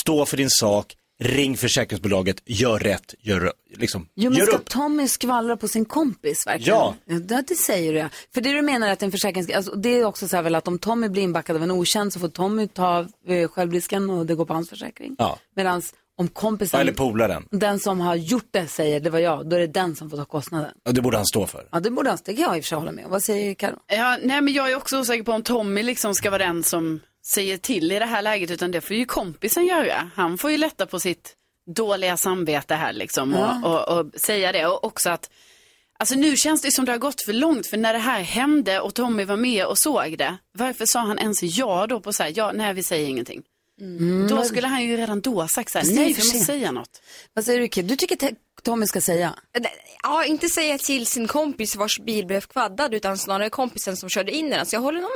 [SPEAKER 5] stå för din sak, ring försäkringsbolaget, gör rätt, gör, liksom,
[SPEAKER 2] Jo, men
[SPEAKER 5] gör
[SPEAKER 2] ska
[SPEAKER 5] upp.
[SPEAKER 2] Tommy skvallra på sin kompis verkligen?
[SPEAKER 5] Ja.
[SPEAKER 2] Det, det säger du ja. För det du menar är att en försäkrings... Alltså, det är också så här väl att om Tommy blir inbackad av en okänd så får Tommy ta eh, självrisken och det går på hans försäkring.
[SPEAKER 5] Ja.
[SPEAKER 2] Medan om kompisen,
[SPEAKER 5] Eller polaren,
[SPEAKER 2] den som har gjort det säger det var jag, då är det den som får ta kostnaden.
[SPEAKER 5] Ja, det borde han stå för.
[SPEAKER 2] Ja, det borde han, det kan jag i och för sig hålla med om. Vad säger Karo?
[SPEAKER 4] Ja, nej, men jag är också osäker på om Tommy liksom ska vara den som säger till i det här läget, utan det får ju kompisen göra. Han får ju lätta på sitt dåliga samvete här liksom och, och, och säga det. Och också att, alltså nu känns det som det har gått för långt, för när det här hände och Tommy var med och såg det, varför sa han ens ja då på så här, ja, nej, vi säger ingenting. Då skulle han ju redan då ha sagt så här,
[SPEAKER 2] Mm. Precis,
[SPEAKER 4] nej, vi
[SPEAKER 2] för sent.
[SPEAKER 4] måste säga något.
[SPEAKER 2] Vad säger du Kid? Du tycker te- Tommy ska säga?
[SPEAKER 7] Ja, inte säga till sin kompis vars bil blev kvaddad utan snarare kompisen som körde in i den. Så jag håller nog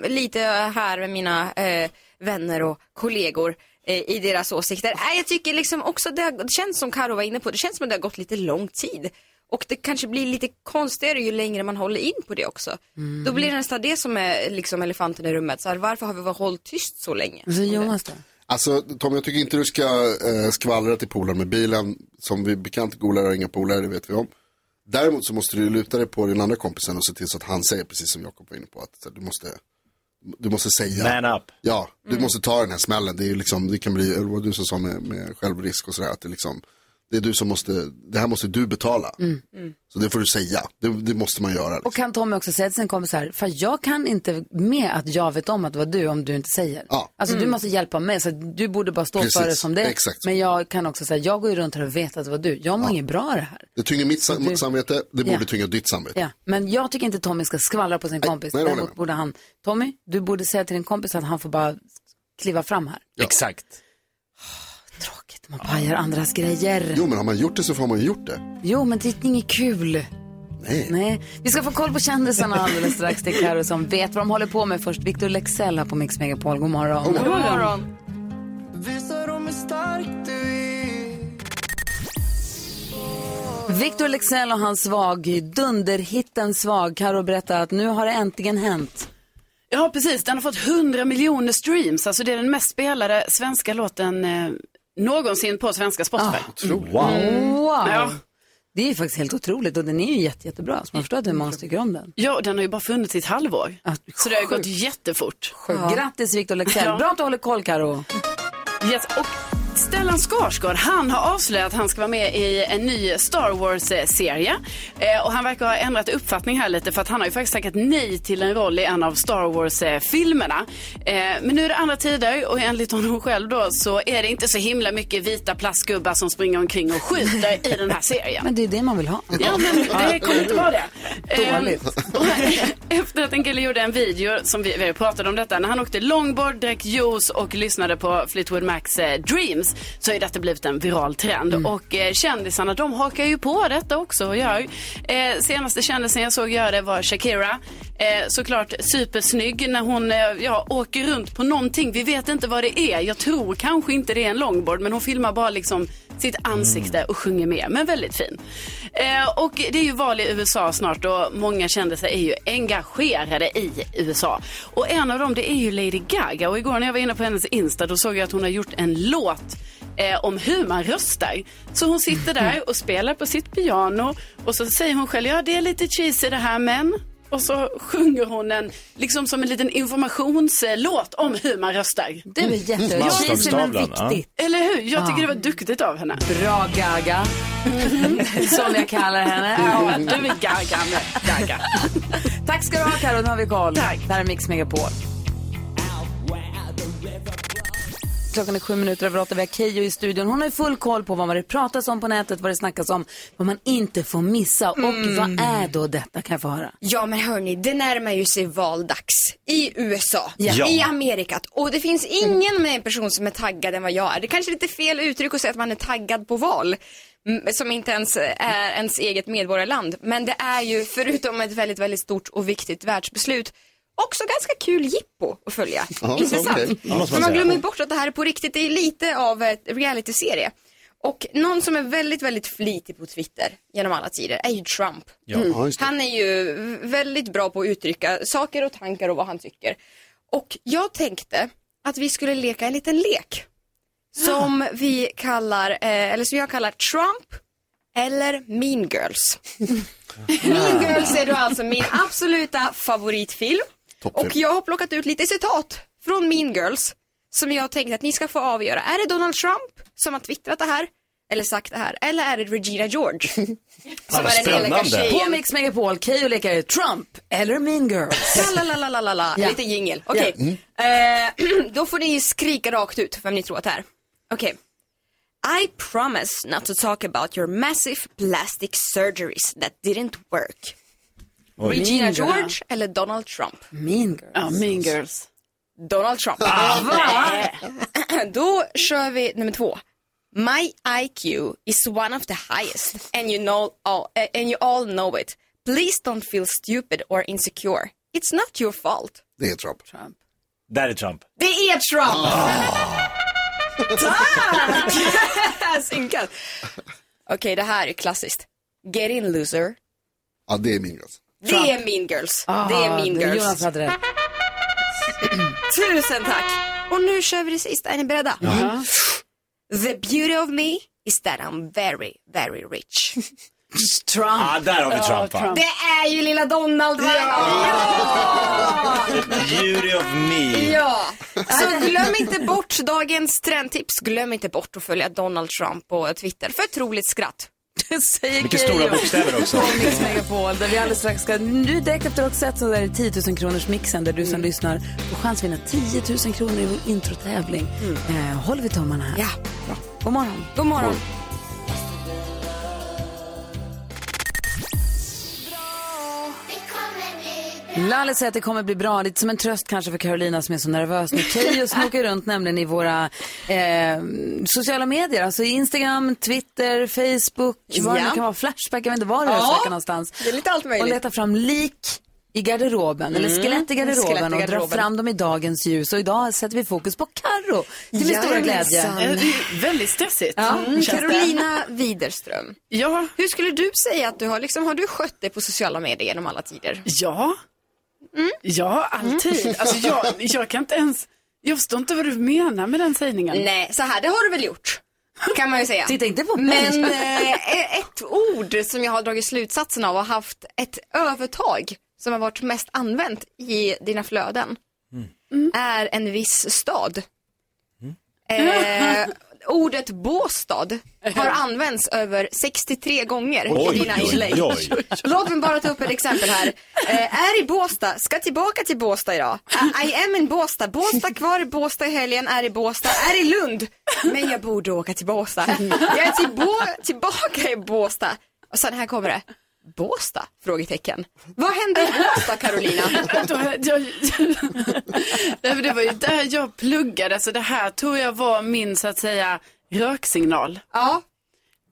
[SPEAKER 7] med lite här med mina eh, vänner och kollegor. eh, i deras åsikter. Äh, jag tycker liksom också, det, har, det känns som Karo var inne på, det känns som att det har gått lite lång tid. Och det kanske blir lite konstigare ju längre man håller in på det också.
[SPEAKER 4] Mm.
[SPEAKER 7] Då blir det nästan det som är liksom elefanten i rummet. Så här, varför har vi varit hållit tyst så länge?
[SPEAKER 2] Så Jonas då?
[SPEAKER 3] Alltså Tom, jag tycker inte du ska eh, skvallra till polaren med bilen. Som vi bekant, golare har inga polare, det vet vi om. Däremot så måste du luta dig på din andra kompisen och se till så att han säger, precis som Jakob var inne på, att så, här, du, måste, du måste säga.
[SPEAKER 5] Man up.
[SPEAKER 3] Ja, du måste ta den här smällen. Det, är ju liksom, det kan bli, det var du som sa med, med självrisk och sådär, att det, liksom, det är du som måste, det här måste du betala. Så det får du säga, det, det måste man göra. Liksom.
[SPEAKER 2] Och kan Tommy också säga till sin kompis här, för jag kan inte med att jag vet om att det var du om du inte säger.
[SPEAKER 3] Ja.
[SPEAKER 2] Alltså du måste hjälpa mig, så att du borde bara stå
[SPEAKER 3] Precis,
[SPEAKER 2] för det som det är.
[SPEAKER 3] exakt.
[SPEAKER 2] Men jag kan också säga, jag går ju runt här och vet att det var du. Jag mår inget bra av det här.
[SPEAKER 3] Det tynger mitt sam-
[SPEAKER 2] du-
[SPEAKER 3] samvete, det
[SPEAKER 2] Ja.
[SPEAKER 3] borde tynga ditt samvete.
[SPEAKER 2] Ja. Men jag tycker inte Tommy ska skvallra på sin kompis.
[SPEAKER 3] nej, det håller jag
[SPEAKER 2] Däremot
[SPEAKER 3] med.
[SPEAKER 2] borde han, Tommy, du borde säga till din kompis att han får bara kliva fram här.
[SPEAKER 5] Exakt.
[SPEAKER 2] Tråkigt, man pajar andras grejer.
[SPEAKER 3] Jo, men har man gjort det så har man ju gjort det.
[SPEAKER 2] Jo, men det är inget kul.
[SPEAKER 3] Nej.
[SPEAKER 2] Nej, vi ska få koll på kändisarna alldeles strax. Det är Karo som vet vad de håller på med först. Victor Lexell här på Mix Megapol. God morgon.
[SPEAKER 3] God morgon.
[SPEAKER 2] Victor Lexell och hans svag, dunderhitten svag. Karo berättar att nu har det äntligen hänt.
[SPEAKER 4] Ja, precis. Den har fått 100 miljoner streams. Alltså det är den mest spelade svenska låten eh, någonsin på svenska
[SPEAKER 2] Ah,
[SPEAKER 4] Spotify.
[SPEAKER 5] Wow.
[SPEAKER 2] Wow!
[SPEAKER 4] Ja.
[SPEAKER 2] Det är ju faktiskt helt otroligt och den är ju jätte, jättebra. Så man förstår att det är många som tycker om den.
[SPEAKER 4] Ja, och den har ju bara funnits i ett halvår.
[SPEAKER 2] Ja,
[SPEAKER 4] Så det har ju
[SPEAKER 2] sjukt.
[SPEAKER 4] gått jättefort.
[SPEAKER 2] Ja. Grattis Victor Lexell.
[SPEAKER 4] Ja.
[SPEAKER 2] Bra att du håller koll Karo.
[SPEAKER 4] Yes. Och Stellan Skarsgård, han har avslöjat att han ska vara med i en ny Star Wars-serie. Eh, och han verkar ha ändrat uppfattning här lite för att han har ju faktiskt tackat nej till en roll i en av Star Wars-filmerna. Eh, men nu är det andra tider och enligt honom själv då så är det inte så himla mycket vita plastgubbar som springer omkring och skjuter i den här serien.
[SPEAKER 2] Men det är ju det man vill ha.
[SPEAKER 4] Ja, men det kommer inte vara det.
[SPEAKER 2] Dåligt.
[SPEAKER 4] Ehm, och Efter att en kille gjorde en video som vi, vi pratade om detta, när han åkte longboard, drack juice och lyssnade på Fleetwood Macs eh, Dreams så har ju detta blivit en viral trend. Och eh, kändisarna de hakar ju på detta också och gör. Eh, senaste kändisen jag såg göra det var Shakira. Eh, såklart supersnygg när hon eh, ja, åker runt på någonting. Vi vet inte vad det är. Jag tror kanske inte det är en longboard men hon filmar bara liksom sitt ansikte och sjunger med. Men väldigt fin. Eh, och det är ju val i USA snart och många kändisar är ju engagerade i USA. Och en av dem det är ju Lady Gaga och igår när jag var inne på hennes Insta då såg jag att hon har gjort en låt eh, om hur man röstar. Så hon sitter där och spelar på sitt piano och så säger hon själv, ja det är lite cheesy det här men och så sjunger hon en, liksom som en liten informationslåt om hur man röstar.
[SPEAKER 2] Det är väl jättecheesy men
[SPEAKER 5] Masstavlan, ja.
[SPEAKER 2] viktigt.
[SPEAKER 4] Eller hur? Jag tycker det var duktigt av henne.
[SPEAKER 2] Bra
[SPEAKER 7] *laughs*
[SPEAKER 2] Gaga, som jag kallar henne.
[SPEAKER 4] Ja, du är gaga med gaga.
[SPEAKER 2] Tack ska du ha Karo, nu har vi koll.
[SPEAKER 4] Tack.
[SPEAKER 2] Det här är Mix Megapol. Klockan är sju minuter över åtta, vi har Keyyo i studion. Hon har ju full koll på vad det pratas om på nätet, vad det snackas om, vad man inte får missa.
[SPEAKER 7] Mm.
[SPEAKER 2] Och vad är då detta kan jag få höra?
[SPEAKER 7] Ja men hörni, det närmar ju sig valdags i USA,
[SPEAKER 5] Ja.
[SPEAKER 7] i Amerika och det finns ingen med en person som är taggad än vad jag är. Det kanske är lite fel uttryck att säga att man är taggad på val m, som inte ens är ens eget medborgarland. Men det är ju förutom ett väldigt, väldigt stort och viktigt världsbeslut också ganska kul jippo att
[SPEAKER 2] *laughs*
[SPEAKER 7] följa.
[SPEAKER 3] Ja,
[SPEAKER 7] Intressant.
[SPEAKER 3] okej. Ja,
[SPEAKER 5] måste
[SPEAKER 7] För
[SPEAKER 5] man
[SPEAKER 7] man
[SPEAKER 5] säga.
[SPEAKER 7] glömmer bort att det här är på riktigt, det är lite av en realityserie. Och någon som är väldigt, väldigt flitig på Twitter genom alla tider är ju Trump.
[SPEAKER 3] Ja, just det.
[SPEAKER 7] Han är ju väldigt bra på att uttrycka saker och tankar och vad han tycker. Och jag tänkte att vi skulle leka en liten lek. Som vi kallar, eh, eller som jag kallar Trump eller Mean Girls. mean Girls är då alltså min absoluta favoritfilm.
[SPEAKER 3] Toppfilm.
[SPEAKER 7] Och jag har plockat ut lite citat från Mean Girls. Som jag tänkte att ni ska få avgöra. Är det Donald Trump som har twittrat det här? Eller sagt det här? Eller är det Regina George? som
[SPEAKER 5] vad spännande.
[SPEAKER 2] På Mix Megapol, Keyyo lekar ju Trump eller Mean Girls.
[SPEAKER 7] Tralalalalala,
[SPEAKER 2] Ja. Mm.
[SPEAKER 7] lite jingel. Okej. Eh, *clears throat* då får ni skrika rakt ut vem ni tror att det är. Okej. I promise not to talk about your massive plastic surgeries that didn't work. Regina George eller Donald Trump?
[SPEAKER 2] Mean Girls.
[SPEAKER 4] Ja, mean girls.
[SPEAKER 7] Donald Trump. *laughs* Eh, *clears throat* Då kör vi nummer två. My IQ is one of the highest and you, know all, eh, and you all know it. Please don't feel stupid or insecure. It's not your fault.
[SPEAKER 3] Det är Trump.
[SPEAKER 5] Där är Trump.
[SPEAKER 7] Det är Trump!
[SPEAKER 2] Tack! Synkat. Okej, det här är klassiskt. Get in loser.
[SPEAKER 3] Ja, det är min gräns.
[SPEAKER 2] Det är mean girls. det är mean girls.
[SPEAKER 8] Ah, Jonas hade rätt.
[SPEAKER 2] Tusen tack. Och nu kör vi det sista. Är ni beredda? Mm. The beauty of me is that I'm very, very rich.
[SPEAKER 8] Trump.
[SPEAKER 5] ah, där har vi Trump va?
[SPEAKER 2] Det är ju lilla Donald va?
[SPEAKER 5] Jury of me.
[SPEAKER 2] Ja. Så glöm inte bort dagens trendtips. Glöm inte bort att följa Donald Trump på Twitter för ett roligt skratt.
[SPEAKER 9] Det säger
[SPEAKER 5] Vilka stora
[SPEAKER 9] Keyyo.
[SPEAKER 5] bokstäver också.
[SPEAKER 9] på Mix Megapol där vi alldeles strax ska...
[SPEAKER 8] Nu direkt efter Roxette så är det 10 000 kronors mixen där du
[SPEAKER 2] Mm.
[SPEAKER 8] som lyssnar får chans att vinna 10 000 kronor i vår introtävling. Eh, håller vi tummarna här.
[SPEAKER 2] Mm. Ja.
[SPEAKER 8] God morgon.
[SPEAKER 2] God morgon.
[SPEAKER 8] Lalle säger att det kommer bli bra. Lite som en tröst kanske för Carolina som är så nervös nu. Keyyo snokar runt nämligen i våra eh, sociala medier. Alltså Instagram, Twitter, Facebook, vad det
[SPEAKER 2] Ja.
[SPEAKER 8] nu kan vara. Flashback, jag vet inte var du
[SPEAKER 2] Ja.
[SPEAKER 8] söker någonstans.
[SPEAKER 2] Det är lite allt möjligt. Mm,
[SPEAKER 8] Och letar fram lik i garderoben, eller skelett i garderoben
[SPEAKER 2] skelett i
[SPEAKER 8] och drar
[SPEAKER 2] garderoben.
[SPEAKER 8] fram dem i dagens ljus. Och idag sätter vi fokus på Carro till min stora glädje.
[SPEAKER 2] Jajamensan.
[SPEAKER 4] Eh, Det är väldigt stressigt.
[SPEAKER 2] Mm, Carolina Widerström.
[SPEAKER 4] Ja,
[SPEAKER 2] Hur skulle du säga att du har, liksom, har du skött dig på sociala medier genom alla tider?
[SPEAKER 4] Ja. Mm. Ja, alltid. Alltså, jag, jag kan inte ens... Jag förstår inte vad du menar med den sägningen.
[SPEAKER 2] Nej, så här det har du väl gjort. Kan man ju säga.
[SPEAKER 8] *laughs* Titta inte på mig.
[SPEAKER 2] Men eh, ett ord som jag har dragit slutsatsen av har haft ett övertag som har varit mest använt i dina flöden är en viss stad. Eh, ordet Båstad har använts över 63 gånger i dina inlägg. Låt mig bara ta upp ett exempel här. Eh, är i Båstad, ska tillbaka till Båstad idag. Eh, I- I am in Båstad, Båstad kvar i Båstad i helgen, är i Båstad, är i Lund. Men jag borde åka till Båstad. Jag är till Bå- tillbaka i Båstad. Och sen här kommer det. Båstad? Frågetecken. Vad hände i Båstad Carolina?
[SPEAKER 4] Då, jag, jag, Nej, men det var ju där jag pluggade, så det här tror jag var min så att säga röksignal.
[SPEAKER 2] Ja,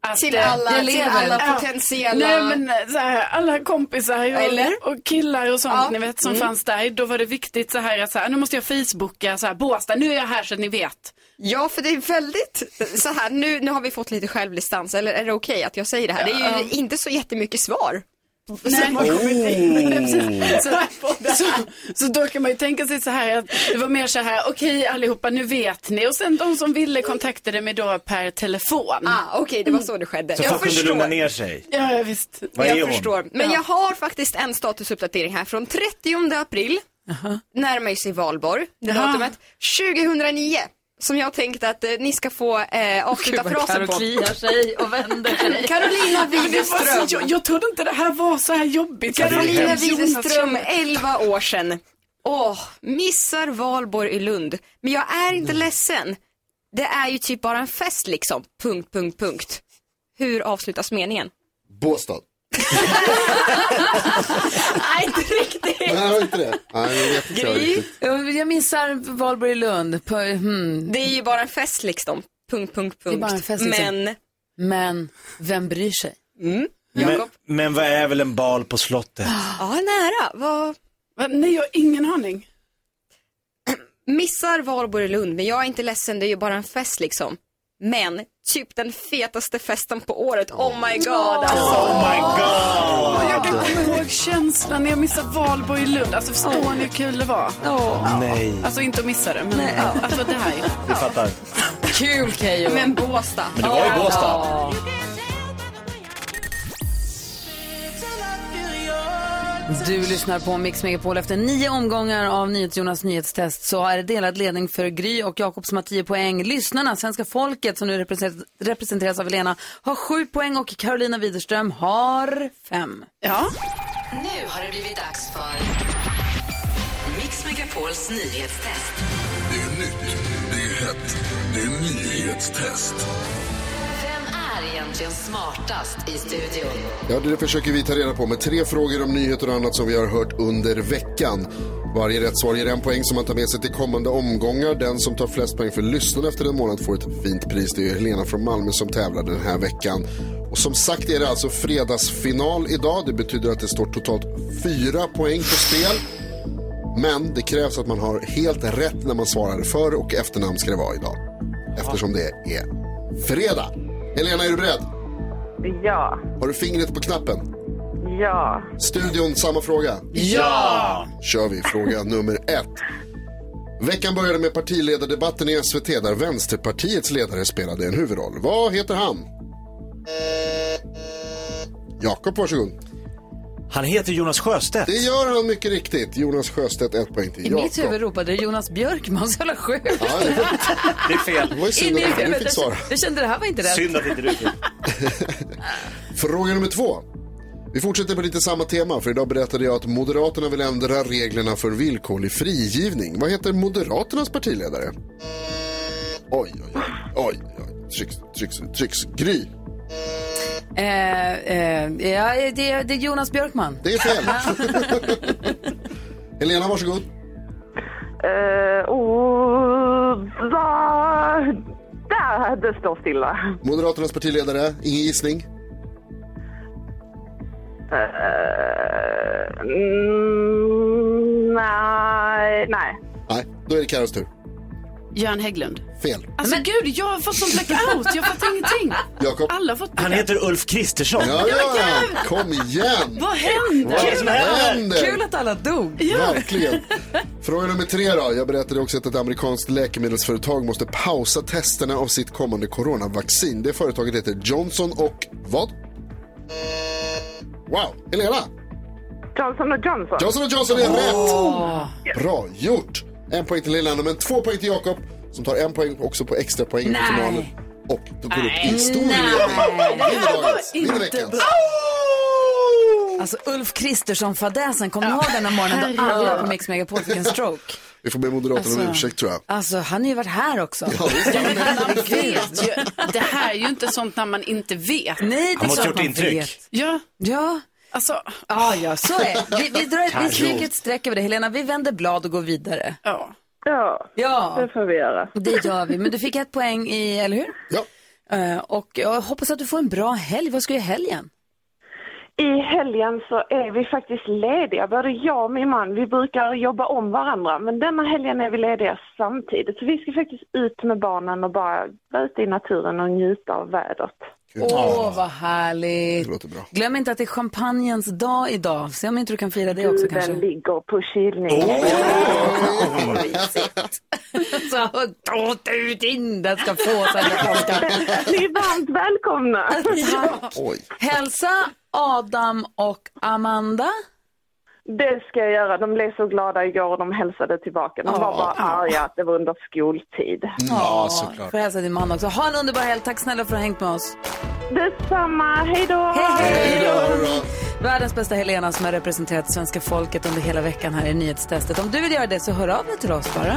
[SPEAKER 4] Att,
[SPEAKER 2] till
[SPEAKER 4] eh,
[SPEAKER 2] alla, till alla
[SPEAKER 4] Ja.
[SPEAKER 2] potentiella.
[SPEAKER 4] Nej men eh, så här, alla kompisar och,
[SPEAKER 2] Eller?
[SPEAKER 4] och killar och sånt
[SPEAKER 2] Ja. Mm.
[SPEAKER 4] ni vet som fanns där. Då var det viktigt så här att så här, nu måste jag facebooka så här, Båstad, nu är jag här så att ni vet.
[SPEAKER 2] Ja, för det är väldigt så här, nu, nu har vi fått lite självdistans, eller är det okej att jag säger det här? Det är ju inte så jättemycket svar.
[SPEAKER 4] Nej. Precis. *laughs* Så, så, så då kan man ju tänka sig så här att det var mer så här, okej allihopa nu vet ni. Och sen de som ville kontaktade mig då per telefon.
[SPEAKER 2] Ah, okej, det var så det skedde.
[SPEAKER 5] Så
[SPEAKER 2] jag
[SPEAKER 5] folk kunde
[SPEAKER 2] förstår.
[SPEAKER 5] lugna ner sig.
[SPEAKER 4] Ja, ja, visst.
[SPEAKER 5] Vad är
[SPEAKER 2] jag
[SPEAKER 5] hon?
[SPEAKER 2] förstår. Men jag har faktiskt en statusuppdatering här från 30 april, närmar ju sig valborg, det
[SPEAKER 4] Jaha.
[SPEAKER 2] datumet, 2009. Som jag tänkte att eh, ni ska få eh, avsluta frasen
[SPEAKER 9] Carro
[SPEAKER 2] på.
[SPEAKER 9] kliar sig och
[SPEAKER 2] *laughs*
[SPEAKER 9] vänder sig.
[SPEAKER 2] Carolina
[SPEAKER 4] Men det var så,
[SPEAKER 2] Widerström.
[SPEAKER 4] jag, jag trodde inte det här var så här jobbigt.
[SPEAKER 2] Carolina
[SPEAKER 4] Jonas
[SPEAKER 2] Widerström,
[SPEAKER 4] känner-
[SPEAKER 2] 11 år sedan. Åh, missar valborg i Lund. Men jag är inte ledsen. Det är ju typ bara en fest liksom. Punkt, punkt, punkt. Hur avslutas meningen?
[SPEAKER 3] Båstad.
[SPEAKER 2] Nej, inte riktigt.
[SPEAKER 3] Nej, var inte det? Nej, jag vet inte jag riktigt.
[SPEAKER 8] Jag- Jag missar Valborg i Lund. På, hmm.
[SPEAKER 2] Det är ju bara en fest liksom. Punkt, punkt, punkt.
[SPEAKER 8] är bara en fest, liksom.
[SPEAKER 2] Men,
[SPEAKER 8] Men vem bryr sig?
[SPEAKER 5] Men,
[SPEAKER 2] Jakob?
[SPEAKER 5] men vad är väl en bal på slottet? Oh
[SPEAKER 2] ja, nära. Vad...
[SPEAKER 4] Va, Nej, jag har ingen aning.
[SPEAKER 2] Missar valborg i Lund, men jag är inte ledsen. Det är ju bara en fest liksom. Men, typ den fetaste festen på året. Oh my god alltså.
[SPEAKER 5] Oh my god!
[SPEAKER 4] Jag kan komma ihåg känslan när jag missade Valborg i Lund. Alltså förstår ni hur kul det var?
[SPEAKER 5] Nej,
[SPEAKER 4] Alltså inte att missa det, men alltså det här.
[SPEAKER 5] vi fattar.
[SPEAKER 9] Kul Keyyo.
[SPEAKER 2] Men Båstad.
[SPEAKER 5] Men det var ju Båstad.
[SPEAKER 8] Du lyssnar på Mix Megapol. Efter nio omgångar av NyhetsJonas nyhetstest så är det delad ledning för Gry och Jakob som har 10 poäng. Lyssnarna, svenska folket som nu represent- representeras av Elena, har 7 poäng och Carolina Widerström har 5.
[SPEAKER 4] Ja.
[SPEAKER 10] Nu har det blivit dags för Mix Megapols nyhetstest. Vem är egentligen smartast i studion?
[SPEAKER 3] Ja, det försöker vi ta reda på med tre frågor om nyheter och annat som vi har hört under veckan. Varje rätt svar ger en poäng som man tar med sig till kommande omgångar. Den som tar flest poäng för lyssnarna efter en månad får ett fint pris. Det är Helena från Malmö som tävlar den här veckan. Och som sagt är det alltså fredagsfinal idag. Det betyder att det står totalt fyra poäng på spel. Men det krävs att man har helt rätt när man svarar för och efternamn ska det vara idag. eftersom det är fredag. Helena, är du beredd?
[SPEAKER 8] Ja,
[SPEAKER 3] Har du fingret på knappen?
[SPEAKER 8] ja.
[SPEAKER 3] Studion, samma fråga.
[SPEAKER 8] Ja!
[SPEAKER 3] kör vi fråga nummer ett. Veckan började med partiledardebatten i SVT där Vänsterpartiets ledare spelade en huvudroll. Vad heter han? Jakob, varsågod.
[SPEAKER 5] Han heter Jonas Sjöstedt.
[SPEAKER 3] Det gör han mycket riktigt. Jonas Sjöstedt, ett poäng
[SPEAKER 2] I
[SPEAKER 3] till
[SPEAKER 2] mitt
[SPEAKER 3] Jakob.
[SPEAKER 2] huvud ropade det Jonas Björkman, så jävla sjukt.
[SPEAKER 3] Det är fel. Det var ju synd
[SPEAKER 2] In i
[SPEAKER 3] att du
[SPEAKER 2] huvudet.
[SPEAKER 3] fick svara.
[SPEAKER 2] Jag kände det här var inte rätt.
[SPEAKER 3] Fråga nummer två. Vi fortsätter på lite samma tema, för idag berättade jag att Moderaterna vill ändra reglerna för villkorlig frigivning. Vad heter Moderaternas partiledare? Oj, oj, oj. oj, oj. Trycks, trycks, trycks. Gry.
[SPEAKER 2] Eh, eh, ja, det, det är Jonas Björkman.
[SPEAKER 3] Det är
[SPEAKER 4] *laughs*
[SPEAKER 3] fel. Helena, varsågod.
[SPEAKER 8] Eh, och, va, där, det står stilla.
[SPEAKER 3] Moderaternas partiledare, ingen gissning.
[SPEAKER 8] Eh, mm, nej, nej.
[SPEAKER 3] Nej, då är det Carros tur.
[SPEAKER 4] Göran Hägglund.
[SPEAKER 3] Fel.
[SPEAKER 4] Alltså gud, jag har fått sån blackout. Jag fattar ingenting.
[SPEAKER 3] Jakob.
[SPEAKER 4] Alla har fått
[SPEAKER 5] Han heter Ulf Kristersson.
[SPEAKER 3] Ja, ja, kom igen.
[SPEAKER 4] Vad hände?
[SPEAKER 3] Vad är
[SPEAKER 5] alltså,
[SPEAKER 3] det som händer?
[SPEAKER 2] Kul att alla dog.
[SPEAKER 3] Verkligen. Fråga nummer tre då. Jag berättade också att ett amerikanskt läkemedelsföretag måste pausa testerna av sitt kommande coronavaccin. Det företaget heter Johnson och vad? Wow, Helena!
[SPEAKER 8] Johnson och Johnson.
[SPEAKER 3] Johnson och Johnson är rätt! Bra gjort! En poäng till Helena, men två poäng till Jakob som tar en poäng också på extra poäng i
[SPEAKER 8] Nej.
[SPEAKER 3] finalen. Och då går upp i stor
[SPEAKER 8] Nej.
[SPEAKER 3] ledning. Vinner dagens,
[SPEAKER 2] Inte
[SPEAKER 3] vinner veckans.
[SPEAKER 2] Alltså Ulf Kristersson-fadäsen, kommer ni ihåg den här morgonen då
[SPEAKER 11] herregud.
[SPEAKER 2] alla på Mix Megapol fick en stroke?
[SPEAKER 3] Vi får be Moderaterna om
[SPEAKER 2] Alltså.
[SPEAKER 3] ursäkt tror jag.
[SPEAKER 2] Alltså han har ju varit här också.
[SPEAKER 4] Vet ju, det här är ju inte sånt när man inte vet.
[SPEAKER 2] Nej,
[SPEAKER 5] Han måste ha gjort intryck.
[SPEAKER 4] Ja.
[SPEAKER 2] Ja.
[SPEAKER 4] Alltså,
[SPEAKER 2] ah, ja, så är det. Vi, vi, drar ett, vi
[SPEAKER 5] Kanske.
[SPEAKER 2] stryker ett streck över det. Helena, vi vänder blad och går vidare.
[SPEAKER 4] Ja.
[SPEAKER 8] Ja,
[SPEAKER 2] Ja,
[SPEAKER 8] det får vi göra.
[SPEAKER 2] det gör vi. Men du fick ett poäng i, eller hur?
[SPEAKER 3] Ja.
[SPEAKER 2] Eh, och jag hoppas att du får en bra helg. Vad ska du i helgen?
[SPEAKER 8] I helgen så är vi faktiskt lediga, både jag och min man. Vi brukar jobba om varandra, men denna helgen är vi lediga samtidigt. Så vi ska faktiskt ut med barnen och bara vara ute i naturen och njuta av vädret.
[SPEAKER 2] Åh, vad härligt.
[SPEAKER 3] Det låter bra.
[SPEAKER 2] Glöm inte att det är champagnens dag idag. Se om inte du kan fira det också kanske.
[SPEAKER 8] Den ligger på kylning. *laughs*
[SPEAKER 5] Oh.
[SPEAKER 2] *laughs* Så, ta ut in, den ska få så att jag *laughs* orkar.
[SPEAKER 8] Ni är varmt välkomna!
[SPEAKER 3] Oj.
[SPEAKER 2] Hälsa Adam och Amanda.
[SPEAKER 8] Det ska jag göra. De blev så glada igår och de hälsade tillbaka. De var bara arga att det var under skoltid.
[SPEAKER 2] Mm.
[SPEAKER 12] Ja,
[SPEAKER 2] Jag
[SPEAKER 12] såklart.
[SPEAKER 2] Får hälsa din man också. Ha en underbar helg. Tack snälla för att du har hängt med oss.
[SPEAKER 8] Detsamma, hej då!
[SPEAKER 2] Hej
[SPEAKER 3] Ja,
[SPEAKER 2] då!
[SPEAKER 3] det är bra.
[SPEAKER 2] Världens bästa Helena som har representerat svenska folket under hela veckan här i nyhetstestet. Om du vill göra det så hör av dig till oss bara.